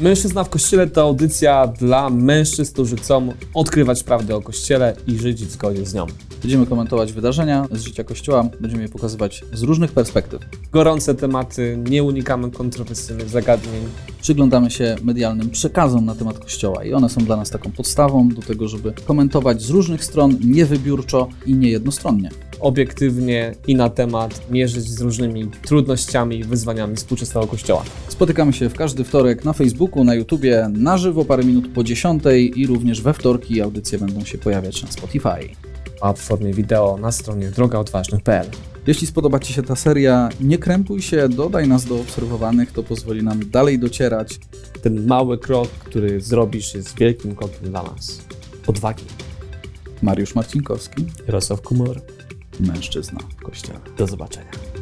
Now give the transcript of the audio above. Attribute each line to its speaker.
Speaker 1: Mężczyzna w Kościele to audycja dla mężczyzn, którzy chcą odkrywać prawdę o Kościele i żyć zgodnie z nią.
Speaker 2: Będziemy komentować wydarzenia z życia Kościoła, będziemy je pokazywać z różnych perspektyw.
Speaker 1: Gorące tematy, nie unikamy kontrowersyjnych zagadnień.
Speaker 2: Przyglądamy się medialnym przekazom na temat Kościoła i one są dla nas taką podstawą do tego, żeby komentować z różnych stron, niewybiórczo i niejednostronnie.
Speaker 1: obiektywnie i na temat mierzyć z różnymi trudnościami i wyzwaniami współczesnego kościoła.
Speaker 2: Spotykamy się w każdy wtorek na Facebooku, na YouTubie, na żywo parę minut po 10 i również we wtorki audycje będą się pojawiać na Spotify.
Speaker 1: A w formie wideo na stronie drogaodważnych.pl.
Speaker 2: Jeśli spodoba Ci się ta seria, nie krępuj się, dodaj nas do obserwowanych, to pozwoli nam dalej docierać.
Speaker 1: Ten mały krok, który zrobisz, jest wielkim krokiem dla nas. Odwagi.
Speaker 2: Mariusz Marcinkowski,
Speaker 1: Jarosław Kumor,
Speaker 2: mężczyzna.
Speaker 1: Kościoła. Do zobaczenia.